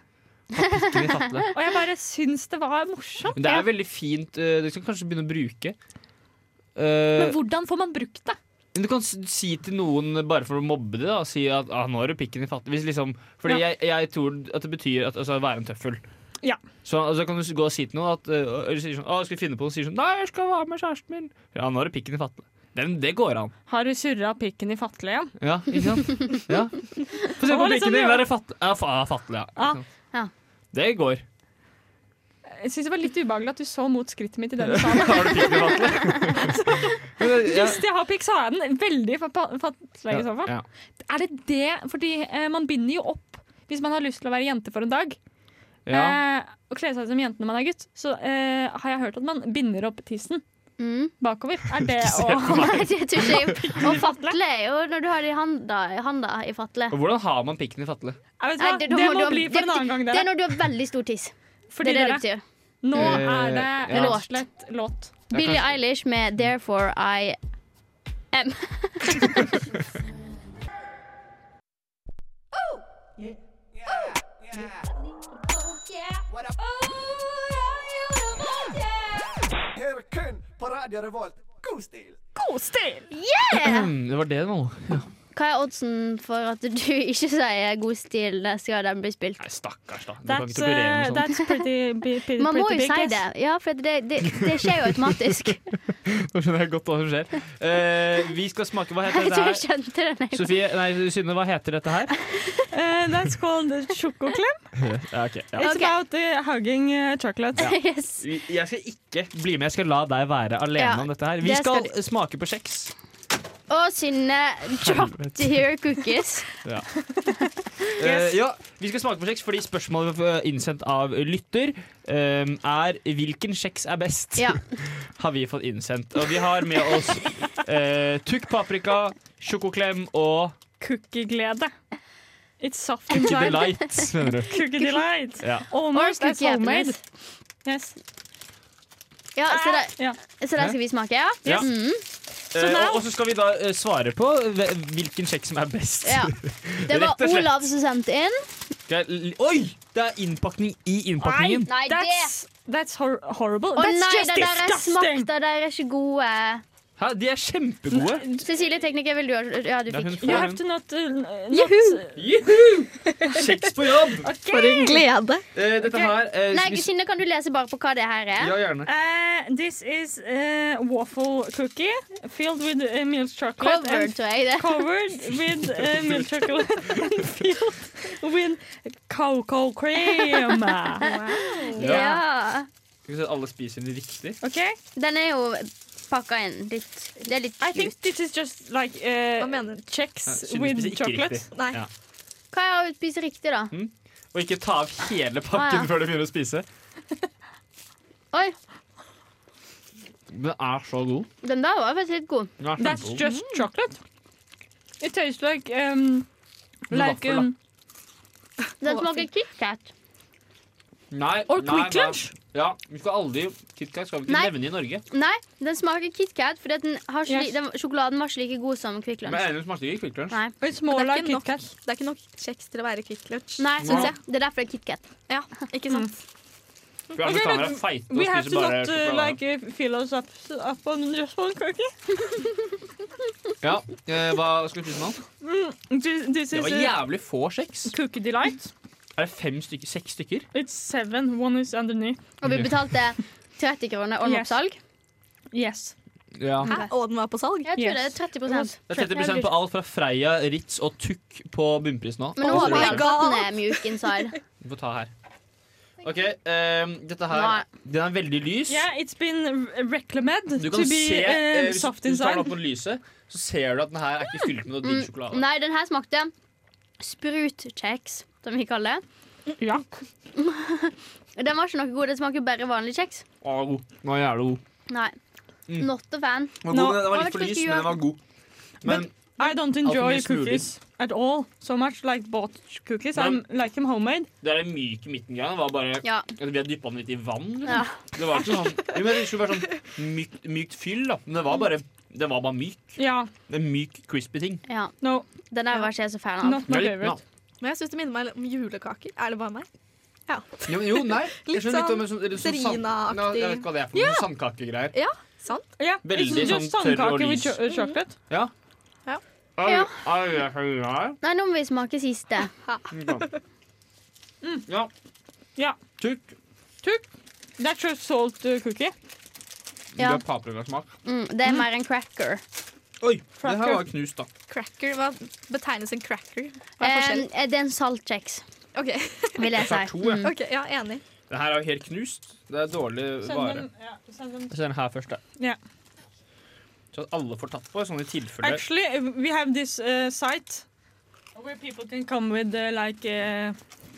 Ikke de fatte det.
Og jeg bare syns det var morsomt.
Men det er veldig fint. eh, Du skal kanskje begynne å bruke.
Men
Eh,
hvordan får man brukt det?
men du kan s- si til noen, bare for å mobbe det, da, si at ah, 'nå har du pikken i fatet'. Hvis liksom, fordi jeg, jeg tror at det betyr at, altså, å være en tøffel.
Ja.
Så altså, kan du s- gå og si til noen at eh, eller sier sånn, ah, 'skal vi finne på noe?' sier sånn 'nei, jeg skal være med kjæresten min'. Ja, nå har du pikken i fatet. Den, det går an.
Har du surra pikken i fatle igjen?
Ja, ikke sant? ja. Få se
Det var
på
litt
pikken
sånn,
din.
ja.
Der er fatle. Ja, fa, ja, fatle, ja.
Ja.
Ikke sant?
Ja.
Det går.
Jeg syns det var litt ubehagelig at du så mot skrittet mitt i denne salen.
Har du pikken i fatet?
Hvis jeg har pikk, så har jeg den veldig fa- fa- fatle i så fall.
Ja.
Er det det Fordi eh, man binder jo opp hvis man har lyst til å være jente for en dag.
Ja.
Eh, og kle seg ut som jente når man er gutt. Så eh, har jeg hørt at man binder opp tissen.
Mm.
bakover. Er det
Ikke se
å
på meg.
Nei, det tror ikke jeg. Og fatle er jo når du har det i handa, i handa i fatle.
Og Hvordan har man pikken i fatle?
Jeg vet
Nei,
hva,
det-
Det
da må
må
du-
bli for en annen gang,
Det er
dere.
når du har veldig stor tiss. Det
Fordi
er det det
dere,
betyr.
nå
Eh,
er det
ja.
rett og slett låt.
Billie
kanskje.
Eilish med 'Therefore I Am'.
kun på Radio Revolt. God stil!
God stil!
Hmm, Det var det nå. Ja.
Hva er oddsen for at du ikke sier 'god stil' neste gang den blir spilt?
Nei, stakkars, da. Du kan
That's,
ikke operere
uh,
med sånt.
that's pretty, bi- pretty,
Man må
pretty
jo
big,
si
yes.
det. Ja, for det, det, det skjer jo automatisk.
Nå skjønner jeg godt hva som skjer. Eh, vi skal smake Hva heter
Jeg
dette
tror jeg
her?
skjønte det. Nei.
Sofie, nei, Synne, hva heter dette her?
Eh, that's called chocoklem.
Ja, ok, ja.
It's
Ok.
about uh, hugging uh, chocolate.
Yes.
Jeg skal ikke bli med. Jeg skal la deg være alene
Ja,
om dette her. Vi
det
skal,
skal
smake på kjeks.
Og Synne dropped here cookies.
Eh, ja, vi skal smake på kjeks fordi spørsmålet vi har fått innsendt av lytter, eh, er 'Hvilken kjeks er best?'
Ja.
har vi fått innsendt. Og vi har med oss eh, tukk paprika, sjokoklem og
Cookieglede. It's soft
Cookie
inside.
Delight, mener du.
Cookie delight.
Ja.
Almost as homemade. Yes.
Ja, så Ah, det,
Ja.
så det skal vi smake, ja?
Ja.
Mm,
Eh,
now-
og- og så skal vi da eh, svare på hve- hvilken kjeks som er best.
ja. Det var
Rett og slett.
Olav som sendte inn.
Det er, li- oi! Det er innpakning i innpakningen.
Nei, det
That's, that's hor horrible.
Å
that's
nei,
just
de der er
disgusting.
smakte, de der er ikke gode.
Hæ, de er kjempegode.
Cecilie tekniker, vil du ha Ja, du
Ja, hun
fikk.
You
får
have
en.
to not, uh, not
Juhu!
Juhu! Kjeks på jobb!
For en glede.
Eh, dette her eh,
Nei,
vi-
Synne, kan du lese bare på hva det her er?
Ja, gjerne.
Uh, this is uh, waffle cookie filled with uh, milk chocolate
Covered,
and
tror jeg det.
covered with uh, milk chocolate and filled with cocoa cream.
Ja.
Skal vi se at alle spiser den riktig?
Okay,
Den er jo pakka inn litt. Det er litt
I think
cute.
this is just like uh,
Hva mener du?
checks
Synne
with
spiser ikke
chocolate.
riktig.
Nei.
Ja.
Hva er å spise riktig, da?
Og ikke ta av hele pakken
Ah, ja.
før du begynner å spise.
Oi,
Den er så god.
den der var faktisk litt god.
Den er
That's
kjempegod.
just chocolate. It tastes like um,
Med
like
vaffel, da.
um,
Den smaker KitKat.
Nei,
or
nei,
quick lunch.
Nei. Ja, vi skal aldri KitKat skal vi ikke
Nei.
nevne i Norge.
Nei, den smaker KitKat, for den har ikke,
Yes.
li- den, sjokoladen var ikke like god som Kvikk
Men
Lunsj.
Eirin smakte ikke Quick Lunch.
Nei,
It's more
Det er
like
ikke nok.
KitKat.
Det er ikke nok kjeks til å være Kvikk Lunsj.
Nei
Nei.
syns jeg. Det er derfor det er KitKat.
Ja, ikke sant?
For amerikanere er
men
feite og
We have
spiser
to
bare
not uh,
sjokolade.
like uh, fill us up, up on just one cookie.
Ja, eh, Hva skal vi spise nå?
This, this
Det
is
var
a
jævlig få kjeks.
cookie delight.
Er det fem stykker? Seks stykker?
It's seven. One is underneath.
Og vi betalte 30 kroner og
Yes.
oppsalg.
Yes.
Ja.
Hæ? Og den var på salg?
Jeg tror
Yes.
det er 30
Det er 30 på alt fra Freia, Ritz og Tukk på bunnpris nå.
Men nå
Alle
håper
sier
jeg
det.
God.
at den er mjuk inside.
Vi får ta her. OK, ehm, dette her
Nei.
Den er veldig lys.
Yeah, it's been re- recommended
Du
to
kan
be
se,
uh,
eh, hvis
soft
du tar
inside.
den opp mot lyset, så ser du at den her er ikke fylt med noe digg sjokolade.
Nei, den her smakte sprutkjeks, som vi kaller det.
Ja.
Den var ikke noe god. Den smaker bare vanlig kjeks.
Å, den var god. Den var jævlig god.
Nei.
Mm.
Not a fan.
Den var,
Nå-
god, men den var
Jeg vet
litt for
ikke
lys,
hva jeg
men
gjør.
den var god. Men
I don't
mye
enjoy
smoothie.
cookies at all so much like bought cookies. I
Men-
like them homemade.
det er en myk midtengreie. Den var bare
Ja.
at Vi har dyppa den litt i vann. Liksom.
ja.
Det var ikke sånn Jo, men Det skulle være sånn mykt, mykt fyll, da. Men det var bare Det var bare myk.
Ja.
En myk, crispy ting.
ja.
No,
Den der var ikke jeg så fan av.
not my
Det er litt-
favorite.
Men jeg syns det minner meg litt om julekaker. Er det bare meg?
Ja, men jo, nei. Jeg
Litt
skjønner litt
sånn
om sånn- eller sånn sand-
Serina-aktig.
Ja, Jeg vet ikke hva det er for noe. sånn Sandkakegreier.
Sant?
Yeah,
Veldig
it's just
sånn tørr og
sandkake with
lys.
cho uh, chocolate.
Ja.
Ja.
Ai,
Ja.
ai, jeg er så glad.
Nei, nå må vi smake siste.
Ja.
Ja.
Tykk.
That's your salt uh, cookie.
Ja.
Det er paprikasmak.
Mm, det er mer en cracker.
Oi, det her
Cracker.
var knust, da.
Cracker? Hva betegnes en cracker? Hva er
Eh,
forskjellen?
det er en saltkjeks,
OK,
vil jeg
Jeg
si.
tar to, jeg.
Mm.
ok, ja, enig.
Det her er jo helt knust. Det er dårlig
Send
vare.
them, yeah, send them.
Jeg ser den her først, da.
Ja.
Så at alle får tatt på, sånn i tilfelle
eh, Actually, uh, we have this uh, site Where people can come with uh, like uh,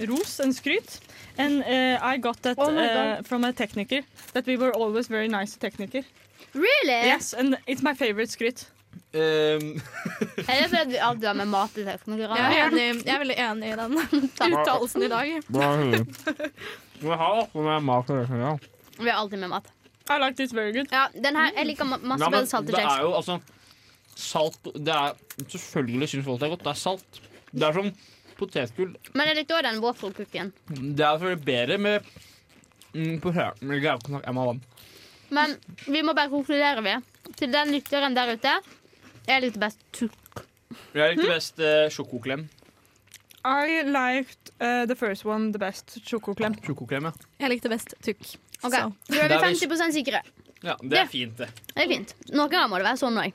ros and skryt. And uh, I got that
Oh my
uh,
God.
from a techniker. That we were always very nice to techniker.
Really?
Yes, and it's my favorite skryt.
Ehm,
Er det fordi at du har med mat i teknikere?
Jeg er, enig, jeg er veldig enig i den uttalelsen i dag.
Vi har alltid med mat.
I like this very good.
Ja, den her, Jeg liker ma masse
Nei, men
bedre salte
det
kjeks.
er jo altså Salt det er, Selvfølgelig syns folk det er godt. Det er salt. Det er som potetgull.
Men jeg likte òg den våffelkukken.
Det er selvfølgelig bedre med mm, på hø- men jeg kan snakke- jeg må ha vann.
Men vi må bare konkludere, vi. Til den lytteren der ute. Jeg likte best tukk.
Jeg
Hm?
likte best eh, sjokoklem.
I liked uh, the first one the best. Sjokoklem.
Sjokoklem, ja.
Jeg likte best tukk.
Ok,
Så.
Da er
Da er
vi
vi-
50 sikre.
ja. Det
Ja.
er fint, det.
Det er fint. Noen ganger må det være sånn òg.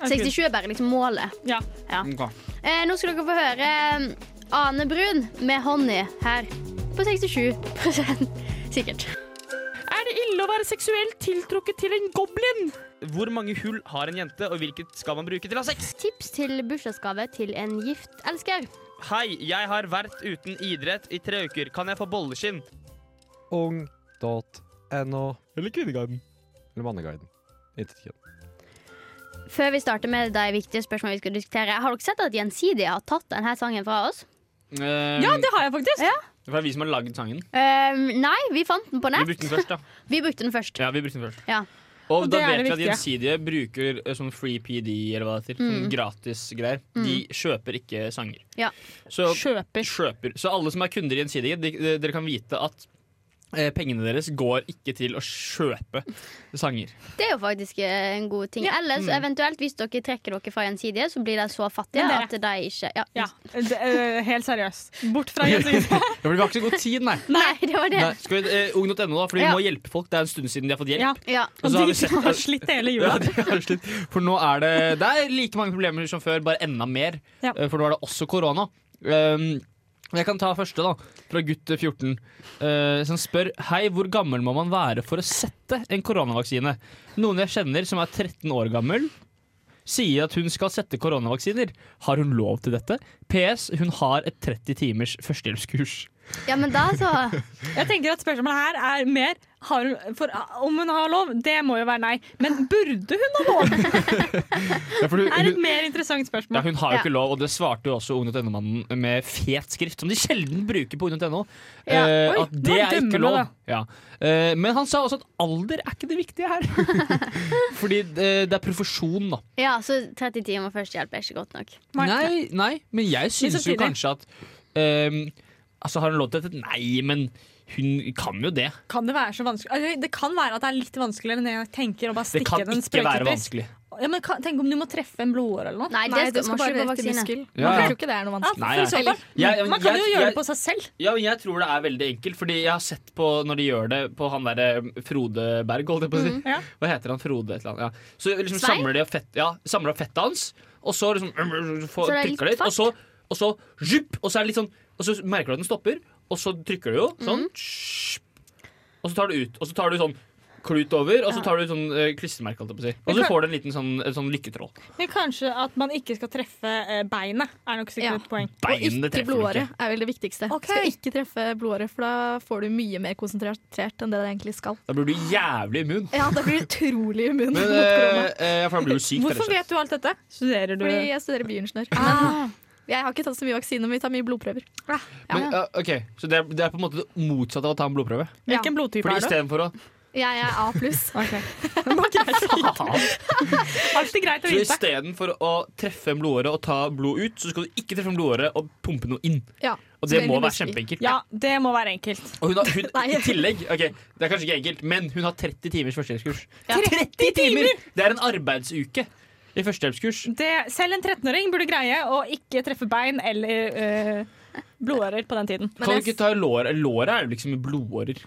Ok.
67 er bare liksom målet.
Ja.
Ok.
Eh, nå skal dere få høre eh, Ane Brun med 'Honey' her på 67 sikkert.
Er det ille å være seksuelt tiltrukket til en goblin?
Hvor mange hull har en jente, og hvilket skal man bruke til å ha sex?
Tips til bursdagsgave til en gift elsker.
Hei, jeg har vært uten idrett i tre uker. Kan jeg få bolleskinn?
Ung.no
Eller Kvinneguiden.
eller Manneguiden. Intet kjønn.
Før vi starter med de viktige spørsmålene vi skal diskutere, har dere sett at Gjensidige har tatt denne sangen fra oss?
Um,
Ja, det har jeg faktisk.
Eh, Det er vi som har laget sangen.
Ehm, nei, vi fant den på
Vi
nett.
brukte den først, da.
Vi brukte den først.
Ja, vi brukte den først.
Ja.
Og,
Og
da
det er
vet
det
vi at
viktige. Mm.
Gjensidige bruker eh, sånn free PD, eller hva det heter. Sånn gratis greier. De kjøper ikke sanger.
Ja.
Så,
Kjøper.
kjøper. Så alle som er kunder i Gjensidige, de, de, dere kan vite at eh, pengene deres går ikke til å kjøpe sanger.
Det er jo faktisk eh, en god ting. Ellers,
Mm.
eventuelt, hvis dere trekker dere fra Gjensidige, så blir de så fattige
Men
at de ikke ja.
Ja, det, eh, helt seriøst. Bort fra Jensine.
Ja, for Vi har ikke så god tid, nei.
Nei, det var det.
nei. Skal vi, eh, Ung.no, da, for vi
Ja.
må hjelpe folk. Det er en stund siden de har fått hjelp.
Ja.
Ja.
Og så har
Og
vi
de
sett-
som har slitt hele
Ja,
jula.
det er slutt. For nå er det Det er like mange problemer som før, bare enda mer.
Ja.
Eh, For nå er det også korona. Um, jeg kan ta første, da. Fra gutt 14. eh, som spør Hei, hvor gammel må man være for å sette en koronavaksine? Noen jeg kjenner som er 13 år gammel, sier at hun skal sette koronavaksiner. Har hun lov til dette? PS. Hun har et 30 timers førstehjelpskurs.
ja, men da så
Jeg tenker at Spørsmålet her er mer har hun, for, om hun har lov. Det må jo være nei. Men burde hun ha lov?
Ja, for
Det er et mer interessant
Ja,
spørsmål.
hun har jo
Ja.
ikke lov, og det svarte jo også ung.no-mannen med fet skrift, som de sjelden bruker på ung.no.
Ja.
eh,
Oi,
at
nå
det er
dømmer
ikke
du,
lov.
da.
Ja. Eh, men han sa også at alder er ikke det viktige her. Fordi eh, det er profesjon, da.
Ja, så 30 timer førstehjelp er ikke godt nok.
Nei.
Nei, nei, men jeg syns jo
samtidig-
kanskje at ehm, Altså, har hun lov til dette? Nei, men hun kan jo det.
Kan det være så vanskelig? Altså, Det kan være at det er litt vanskeligere enn jeg tenker. Å bare
Det
stikke
kan
den
ikke være vanskelig.
Ja, men kan, tenk om du må treffe en blodåre eller noe.
Nei, det
Nei,
skal,
du skal
man
bare
ikke på
rett i
vaksine.
muskel.
Ja.
Jeg tror ikke det er noe
Ja,
vanskelig.
Nei,
for i så
nei.
fall.
Ja, ja, men
Man kan jo
jeg-
gjøre
jeg-
det på seg selv.
Ja, men jeg tror det er veldig enkelt, fordi jeg har sett på når de gjør det på han derre Frode Berg, holdt jeg på å si.
Ja.
Hva heter han? Frode et eller annet. Ja. Så liksom
Svein?
samler de opp fett, ja, samler opp fettet hans, og så liksom mm, få-
Så det er litt
trykker de litt, og så, og så zjupp, og så er det litt sånn Og så merker du at den stopper, og så trykker du jo sånn. zjupp, Og så tar du ut, og så tar du sånn klut over, og så tar du sånn eh, klistremerke, holdt jeg på å si. Og
Men
så
kan-
får du en liten sånn, en sånn lykketråd.
Men kanskje at man ikke skal treffe eh, beinet, er nok sikkert
Ja.
et poeng.
Og
Beinet
ikke
treffer du
blodåre
ikke.
er vel det viktigste.
Ok.
Skal ikke treffe blodåre, for da får du mye mer konsentrert enn det det egentlig skal.
Da blir du jævlig immun.
Ja, da blir du utrolig immun mot
Men
korona.
eh, eh, for da blir du syk. rett og
Hvorfor
slett.
vet du alt dette? Studerer du
Fordi jeg studerer bioingeniør. Men jeg har ikke tatt så mye vaksine, men vi tar mye blodprøver.
Men, ja, ok, Så det er, det er på en måte det motsatte av å ta en blodprøve?
Hvilken blodtype
Fordi
er du?
istedenfor å
Jeg er A pluss.
Okay. Det var greit. Alltid greit å
Så
vite.
istedenfor å treffe en blodåre og ta blod ut, så skal du ikke treffe en blodåre og pumpe noe inn.
Ja.
Og
Så
det
blir
må
det
være
muskel.
kjempeenkelt.
Ja, det må være enkelt.
Og hun har, hun,
Nei.
i tillegg ok, Det er kanskje ikke enkelt, men hun har 30 timers førstehjelpskurs.
Ja.
30 timer! Det er en arbeidsuke i førstehjelpskurs.
Det, selv en 13-åring burde greie å ikke treffe bein eller eh, blodårer på den tiden.
Kan du
jeg-
ikke ta lår? Låret er jo liksom blodårer.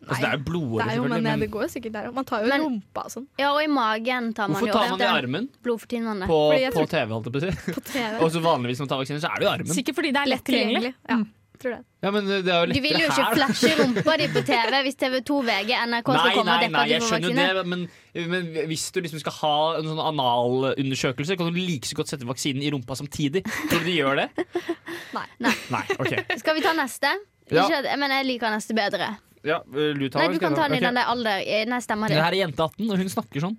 Altså, det er jo
Det
blodårer,
er jo, men,
selvfølgelig.
det
Men
går jo sikkert der òg. Man tar jo
Men-
rumpa og sånn
Ja, og i magen tar man
hvorfor
jo
tar man det i armen
blodfortynnende.
på,
Fordi jeg
på
tror-
TV? holdt jeg på å si
på TV.
Og så vanligvis når man tar vaksine, så er det jo i armen.
Sikkert fordi det er lett
Lett tilgjengelig.
tilgjengelig. Mm.
Ja. Tror det.
Ja, men det er jo
Du vil jo
lettere
ikke
her.
flashe rumpa di på TV hvis TV2, VG, NRK skal
Nei,
komme og
nei,
deppe
nei,
at
jeg
du får
skjønner jo
vaksine.
det, men, men hvis du liksom skal ha en sånn analundersøkelse, kan du like så godt sette vaksinen i rumpa samtidig. Tror du de gjør det?
Nei.
Nei, ok.
Skal vi ta neste?
Ja.
Ikke, at- men jeg liker neste bedre.
Ja, eh, du tar
Nei,
den,
du kan
skal jeg
ta den i
Ok.
den der alder. eh, Nei, stemmer
Det
det.
her er jente 18, og hun snakker sånn.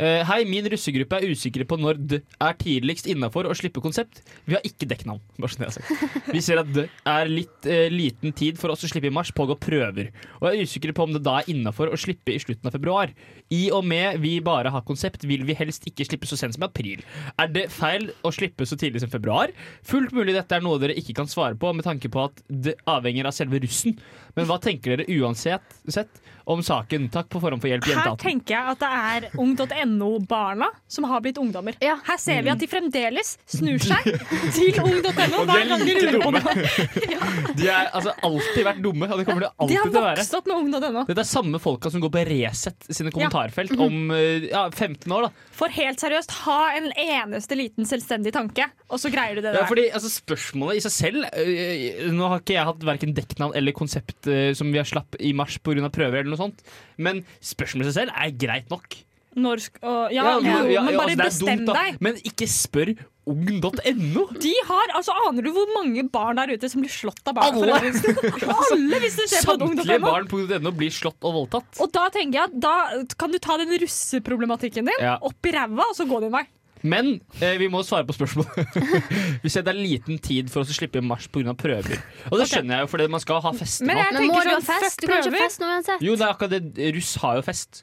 Eh, hei, min russegruppe er usikre på når d er tidligst innafor å slippe konsept. Vi har ikke dekknavn. bare sånn det er sagt. Vi ser at d er litt eh, liten tid for oss å slippe i mars, pågå prøver. Og er usikre på om det da er innafor å slippe i slutten av februar. I og med vi bare har konsept, vil vi helst ikke slippe så sent som i april. Er det feil å slippe så tidlig som februar? Fullt mulig dette er noe dere ikke kan svare på, med tanke på at det avhenger av selve russen. Men hva tenker dere uansett sett om saken? Takk på forhånd for hjelp, jente
Her
18.
tenker jeg at det er ung.no-barna som har blitt ungdommer.
Ja.
Her ser vi at de fremdeles snur seg til ung.no.
Mm. Og de
hver
er
gang de
like
lurer på
dumme.
noe.
De har altså, alltid vært dumme, og det kommer de
De
alltid
har
til å være.
vokst opp med ung.no.
Dette er samme folka som går på Resett sine kommentarfelt
Mhm.
om eh, ja, 15 år. da
For helt seriøst, ha en eneste liten selvstendig tanke, og så greier du det
ja,
der.
fordi altså, Spørsmålet i seg selv eh, Nå har ikke jeg hatt hverken dekknavn eller konsept eh, som vi har slapp i mars pågrunn av prøver, eller noe sånt men spørsmålet i seg selv er greit nok.
Når, sk- og, ja,
Ja,
jo,
ja,
men
ja,
bare
altså, det er
bestem
dumt, da,
deg.
Men ikke spør ung.no!
De har, altså Aner du hvor mange barn der ute som blir slått av barna?
Alle!
Alle hvis du ser på
Samtlige
ung.no.
barn på ung.no blir slått og voldtatt.
Og da tenker jeg at da kan du ta den russeproblematikken din
Ja.
opp i ræva, og så gå din vei.
Men eh, vi må svare på spørsmålet. Vi ser det er liten tid for oss å slippe i mars pga. prøver. Og det skjønner jeg jo, fordi man skal ha fester
Men
nå.
jeg
Men må
tenker
du ha
sånn,
fest?
fuck
Du kan ikke ha
prøver.
fest nå uansett.
Jo, det er akkurat det. Russ har jo fest.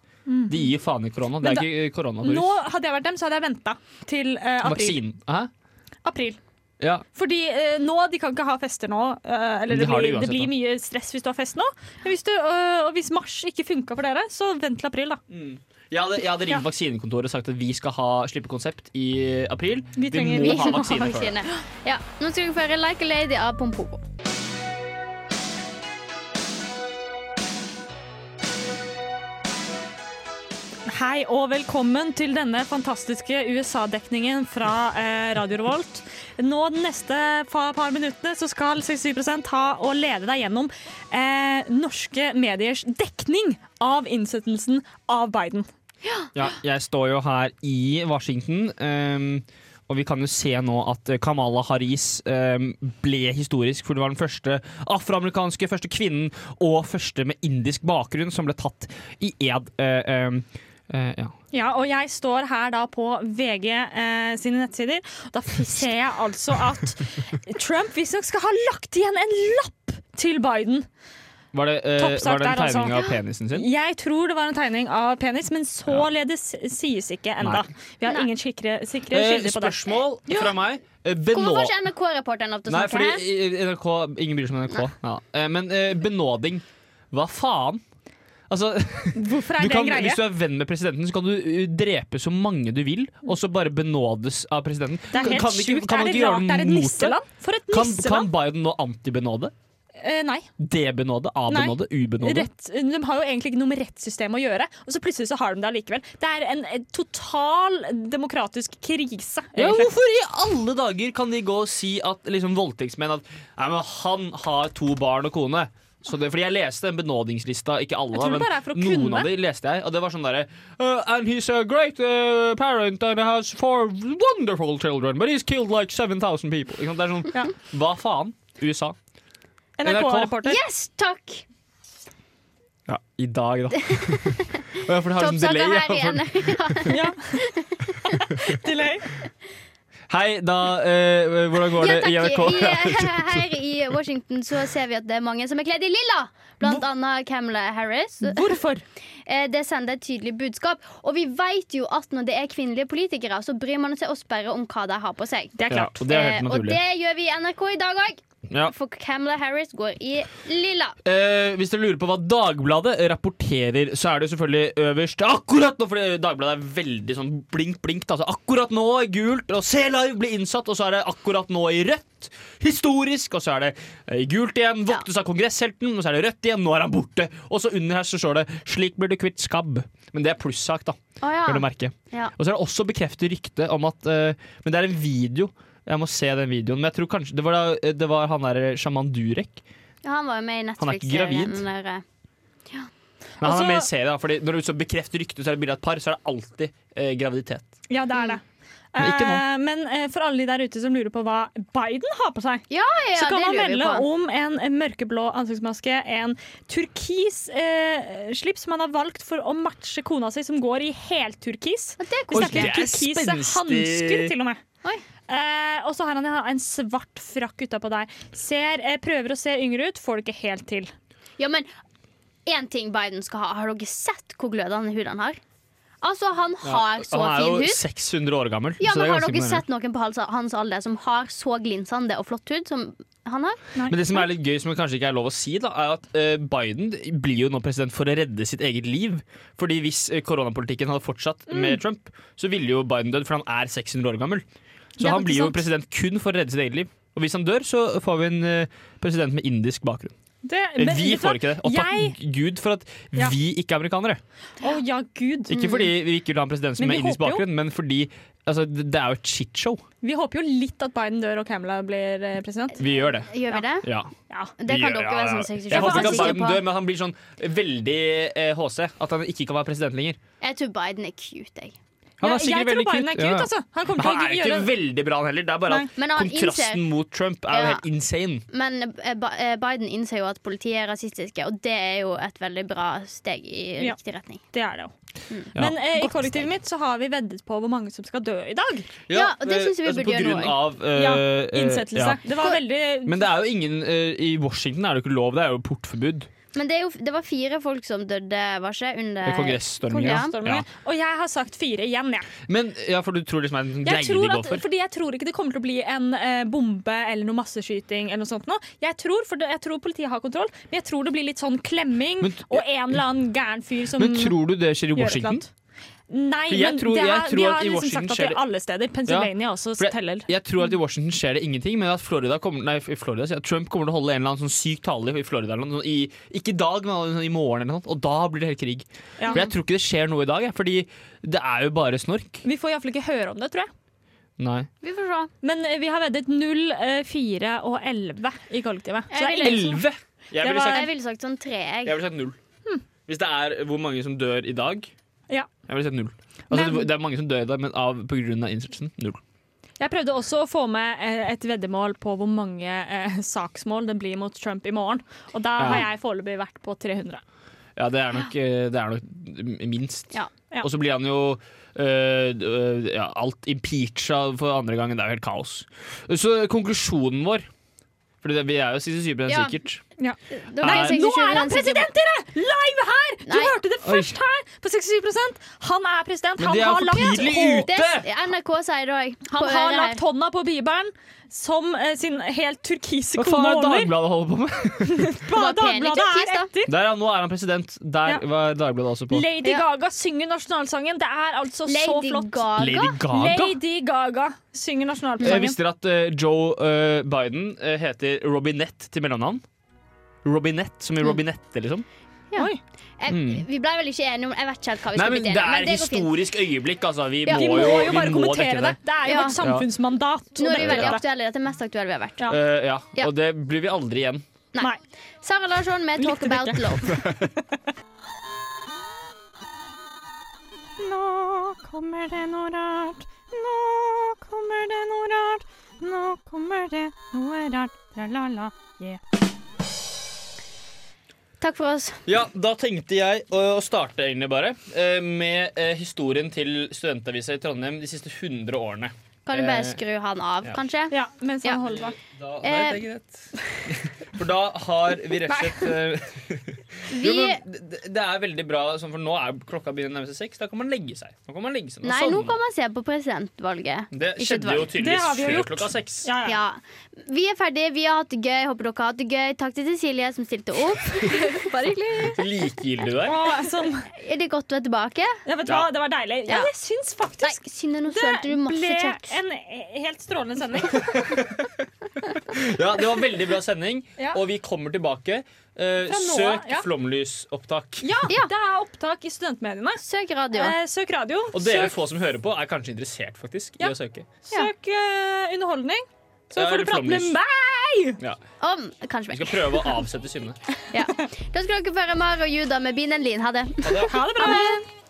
De gir faen i korona.
Mm.
Det
Men
er
da-
ikke korona for
Nå
russ.
Hadde jeg vært dem, så hadde jeg venta til eh, april.
Vaksinen. Hæ?
april.
Ja.
Fordi eh, nå, De kan ikke ha fester nå. eh, eller
De
det,
har
blir,
det
det,
uansett,
blir
da.
mye stress hvis du har fest nå. Men hvis du, eh, og hvis mars ikke funka for dere, så vent til april. da
Jeg hadde, jeg hadde ringt
Ja.
vaksinekontoret og sagt at vi skal ha slippe konsept i april.
Vi trenger-
må
Vi
ha
må ha
vaksine før det.
vaksine. Ja, nå skal dere få høre Like a Lady av Pompoko.
Hei og velkommen til denne fantastiske USA-dekningen fra eh, Radio Revolt. Nå de neste fa- par minuttene så skal 67 ta og lede deg gjennom eh, norske mediers dekning av innsettelsen av Biden.
Ja, jeg står jo her i Washington, ehm, og vi kan jo se nå at eh, Kamala Harris ehm, ble historisk, for det var den første afroamerikanske, første kvinnen og første med indisk bakgrunn som ble tatt i ed. eh, ehm, eh, ja.
Ja, og jeg står her da på VG eh, sine nettsider. Da f- ser jeg altså at Trump visstnok skal ha lagt igjen en lapp til Biden.
Var det, eh,
Toppsak
var det en
der, altså.
tegning av penisen sin?
Jeg tror det var en tegning av penis, men således sies ikke enda.
Nei.
Vi har
Nei.
ingen sikre, sikre
Eh,
kilder på det.
spørsmål fra meg. Eh,
Hvorfor
benå-
får ikke NRK-reporteren lov til å
Nei,
snakke?
fordi
her?
i- i- NRK, ingen bryr seg om NRK. Ja. Eh, Men eh, benåding, hva faen? Altså,
Hvorfor
du
er det
kan,
en greie?
hvis du er venn med presidenten, så kan du eh, drepe så mange du vil, og så bare benådes av presidenten.
Det er
Kan-
helt
kan ikke-
sjukt.
kan man
Er det
ikke gjøre
rart det er et
mot
nisseland? For et
Kan, kan
nisseland!
Biden nå antibenåde?
Eh, nei.
Debenåde? Abenåde? Ubenåde?
Rett, de har jo egentlig ikke noe med rettssystemet å gjøre, og så plutselig så har de det allikevel. Det er en eh, total demokratisk krise.
Ja,
egentlig.
hvorfor i alle dager kan de gå og si at liksom, voldtektsmenn at Nei, men han har to barn og kone. Så det, fordi Jeg leste den benådingslista, ikke alle,
Jeg tror
da,
det bare er for å
men noen
kunne.
av de leste jeg. Og det var sånn derre uh, And he's a great uh, parent and has four wonderful children, but he's killed like 7000 people. Ikke sant? Det er sånn,
Ja.
Hva faen? USA.
NRK-reporter.
Yes, takk!
Ja, i dag, da. ja, for det har sånn
Toppsaker
delay. ja,
her
for-
igjen.
Ja. Delay.
Hei, da eh, Hvordan går
Ja,
det
takk.
i NRK?
I, eh, her i Washington så ser vi at det er mange som er kledd i lilla. Blant annet Camilla Harris.
Hvorfor?
Eh, Det sender et tydelig budskap. Og vi vet jo at når det er kvinnelige politikere, så bryr man seg også bare om hva de har på seg.
Det er
Ja,
klart.
og det er
Eh,
helt
og
naturlig.
det gjør vi i NRK i dag òg.
Ja.
For Camilla Harris går i lilla.
Eh, hvis dere lurer på hva Dagbladet rapporterer, så er det jo selvfølgelig øverst akkurat nå, fordi Dagbladet er veldig sånn blink, blink. da. Så akkurat nå i gult, og Se Live blir innsatt, og så er det akkurat nå i rødt. Historisk, og så er det eh, i gult igjen. Voktes av kongresshelten, og så er det rødt igjen. Nå er han borte. Og så under her så står det 'Slik blir du kvitt skabb'. Men det er plussak, da.
Å ja.
Vil du merke.
Ja.
Og så er det også bekreftet rykte om at eh, Men det er en video Jeg må se den videoen. Men jeg tror kanskje Det var, da, eh, det var han der sjaman Durek.
Ja, han var jo med i
Han er ikke gravid.
Netflix-serien. den der, eh,
Men han
Altså-
er med i serien, da, fordi når du så bekrefter ryktet, så er det bilde av et par, så er det alltid eh, graviditet.
Ja, det er det.
Men ikke nå.
Eh, men eh, for alle de der ute som lurer på hva Biden har på seg,
ja,
så kan
det
man
lurer vi
melde
på.
om en mørkeblå ansiktsmaske, en turkis eh, slips som han har valgt for å matche kona si, som går i helturkis.
Og det
Vi
er
Oi,
koselig.
snakker
det er
turkise
spenstig.
hansker, til og med.
Oi.
Eh, og så har han en, en svart frakk utapå der. Ser, eh, prøver å se yngre ut, får det ikke helt til.
Ja, men én ting Biden skal ha. Har dere sett hvor glødende hud han har? Altså, han har så
han er
fin
jo
hud.
600 år gammel.
Ja,
så det
men
er
Har
ganske
dere
imponerende.
sett noen på hals- hans alder som har så glinsende og flott hud som han har?
Men det som er litt gøy, som kanskje ikke er lov å si, da, er at eh, Biden blir jo nå president for å redde sitt eget liv. Fordi hvis eh, koronapolitikken hadde fortsatt
Mm.
med Trump, så ville jo Biden dødd, for han er 600 år gammel.
Det
Så
er faktisk
han blir jo
sant.
president kun for å redde sitt eget liv. Og hvis han dør, så får vi en eh, president med indisk bakgrunn.
Det-
Eh,
men
vi
vet du
får
hva?
ikke det. Og takk Gud for at
Ja.
vi ikke er amerikanere.
Å ja, gud.
Ikke fordi vi ikke vil ha en president som
Men
har
vi
indisk
håper jo-
bakgrunn, men fordi altså, det det er jo et shitshow.
Vi håper jo litt at Biden dør og Kamala blir eh, president.
Vi gjør det.
Gjør vi det?
Ja.
Ja.
Det kan
Ja,
dere
ja,
være
ja.
sånn 67
Jeg håper ikke at
sikker
Biden
på.
dør, men han blir sånn veldig eh, HC. At han ikke kan være president lenger.
Jeg tror Biden er cute, jeg.
Han
Ja,
er sikkert
jeg tror
veldig
Biden er
cute,
cute,
ja.
altså. Han
Men
kommer
Han
til
er
å
jo
gjøre
ikke veldig bra, han heller. Det er bare at
Men han
kontrasten
innser
mot Trump er jo
Ja.
helt insane.
Men eh, Ba- eh, Biden innser jo at politiet er rasistiske, og det er jo et veldig bra steg i
Ja.
riktig retning.
Det er det jo.
Ja.
Men eh, i
Mm. Godt
kollektivet
steg.
mitt så har vi veddet på hvor mange som skal dø i dag.
Ja, og
eh,
det synes jeg vi
altså,
burde gjøre nå
òg.
Ja, Innsettelse. Det var
For-
veldig
eh, Men det er jo ingen eh, I Washington er det jo ikke lov, det er jo portforbud.
Men det, er jo, det var fire folk som døde, var ikke? Under
Ved kongresstormingen.
Ja.
kongressstormingen. Og jeg har sagt fire igjen, jeg.
Men ja, for du tror liksom det er en
jeg
greie de
tror
går
at,
for?
fordi jeg tror ikke det kommer til å bli en eh, bombe eller noe masseskyting eller noe sånt nå. Jeg tror, for det, jeg tror politiet har kontroll, men jeg tror det blir litt sånn klemming
Men t-
og en eller annen gæren fyr som
Men tror du det skjer i
Mm. gjør et eller
Washington?
annet. Nei,
For jeg
men
tror-
det
jeg
er,
tror
de
at
har
i
liksom
Washington
sagt at det
skjer det-
er alle steder. Pennsylvania også
For jeg-
teller.
Jeg tror
Mm.
at i Washington skjer det ingenting, men at Florida kommer, nei, Florida, sier jeg. Trump kommer til å holde en eller annen sånn syk tale i Florida. eller noe sånt, I, ikke i dag, men sånn i morgen, eller noe sånt, og da blir det helt krig.
Ja.
For Jeg tror ikke det skjer noe i dag, jeg, fordi det er jo bare snork.
Vi får iallfall ikke høre om det, tror jeg.
Nei.
Vi får se.
Men eh, vi har veddet 0, eh, 4 og 11 i kollektivet. Så det er
Jeg vil-
ingen som-
Elleve! Jeg
Det
ville
var-
sagt,
Jeg ville sagt sånn tre,
jeg
jeg.
ville sagt null. Hvis det er hvor mange som dør i dag.
Ja.
Jeg ville sagt null. Altså,
Men-
det er mange som dør i dag, men av, på grunn av innsatsen, null.
Jeg prøvde også å få med eh, et veddemål på hvor mange eh, saksmål det blir mot Trump i morgen. Og da har
Ja.
jeg foreløpig vært på 300.
Ja, det er nok, eh, det er nok m- minst.
Ja.
Ja.
Og så blir han jo eh, eh, ja, alt impeacha for andre gangen. Det er jo helt kaos. Så konklusjonen vår for det, Vi er jo 67
Ja.
sikkert.
Da var jeg
Nei,
Nå
67
er han president, dere! Live her! Du
Nei.
hørte det først her på 67 Han er president.
Men
Han
det er
har
for
lagt,
tidlig
hå-
ute!
Det- NRK sier det òg.
han har lagt hånda på bibelen som eh, sin helt turkise
Hva faen
kone
er det
over.
Dagbladet holder på med?
Hva
Det var pen i
Dagbladet
turkis,
er
da.
etter.
Der, ja, nå er han president. Der
Ja.
var Dagbladet også på.
Lady
Ja.
Gaga synger nasjonalsangen. Det er altså så
Lady
flott.
Gaga.
Lady Gaga?
Lady Gaga synger
Jeg
nasjonalsangen.
visste dere at eh, Joe eh, Biden eh, heter Robinette til mellomnavn? Robinette, som i Robinette, liksom.
Jeg,
Mm.
vi ble vel ikke enige om Jeg vet ikke helt hva vi
Nei,
skal
men
bli
Det
enige om.
er
men det går fint.
historisk øyeblikk, altså. Vi
Ja.
Vi
må
må
jo,
jo
vi
bare
må
kommentere
dekke
det. Det er jo
Ja.
et samfunnsmandat. å
Nå er
dekke
vi veldig
dette.
aktuelle. Dette er mest aktuelle vi har vært.
Ja.
Eh, ja.
Ja.
Og det blir vi aldri igjen.
Nei.
Sara Larsson med Talk
Likte det
About
ikke.
Love.
Nå kommer det noe rart. Nå kommer det noe rart. Nå kommer det noe rart. Tra-la-la.
Takk for oss.
Ja, da tenkte jeg å å starte egentlig bare eh, med eh, historien til studentavisa i Trondheim de siste 100 årene.
Kan du
Eh,
bare skru han av,
ja.
kanskje?
Ja, mens han
Ja.
holder bak.
Da,
nei, Eh. det
For da har vi rett og slett eh, jo,
Vi
men det, det er veldig bra, sånn, for nå er klokka begynner å nærme seg seks. Da kan man legge seg. Nå kan man legge seg.
Nei,
sånn.
nå
sovner
kan man se på presidentvalget.
man. Det
Ikke et
skjedde jo
valg.
Det har
tydeligvis
vi jo
før
gjort.
klokka seks.
Ja, ja.
Ja. Vi er ferdige. Vi har hatt det gøy. Håper dere har hatt det gøy. Takk til Cecilie som stilte opp. Bare hyggelig.
Likegyldig du er.
Å, sånn.
Er det godt å være tilbake?
ja, vet du hva,
Ja.
det var deilig. Ja,
Ja.
jeg syns
Nei,
faktisk
Synne, nå
det
sølte du masse
ble
kjeks.
en helt strålende sending.
Ja, det var veldig bra sending,
Ja.
og vi kommer tilbake. Eh,
Fra nå av,
søk
ja.
flomlysopptak.
Ja,
Ja.
det er opptak i studentmediene.
Søk radio.
Eh, søk radio.
Og dere
søk
få som hører på, er kanskje interessert faktisk
Ja.
i å søke.
søk eh, underholdning. Så
Ja,
får du
eller
prate med
flomlys.
meg!
Om, kanskje
Vi
meg.
skal prøve å avsette Synne.
Ja. Da skal dere få høre Mario og Juda med Bilen Lin. Ha det.
Ha det bra!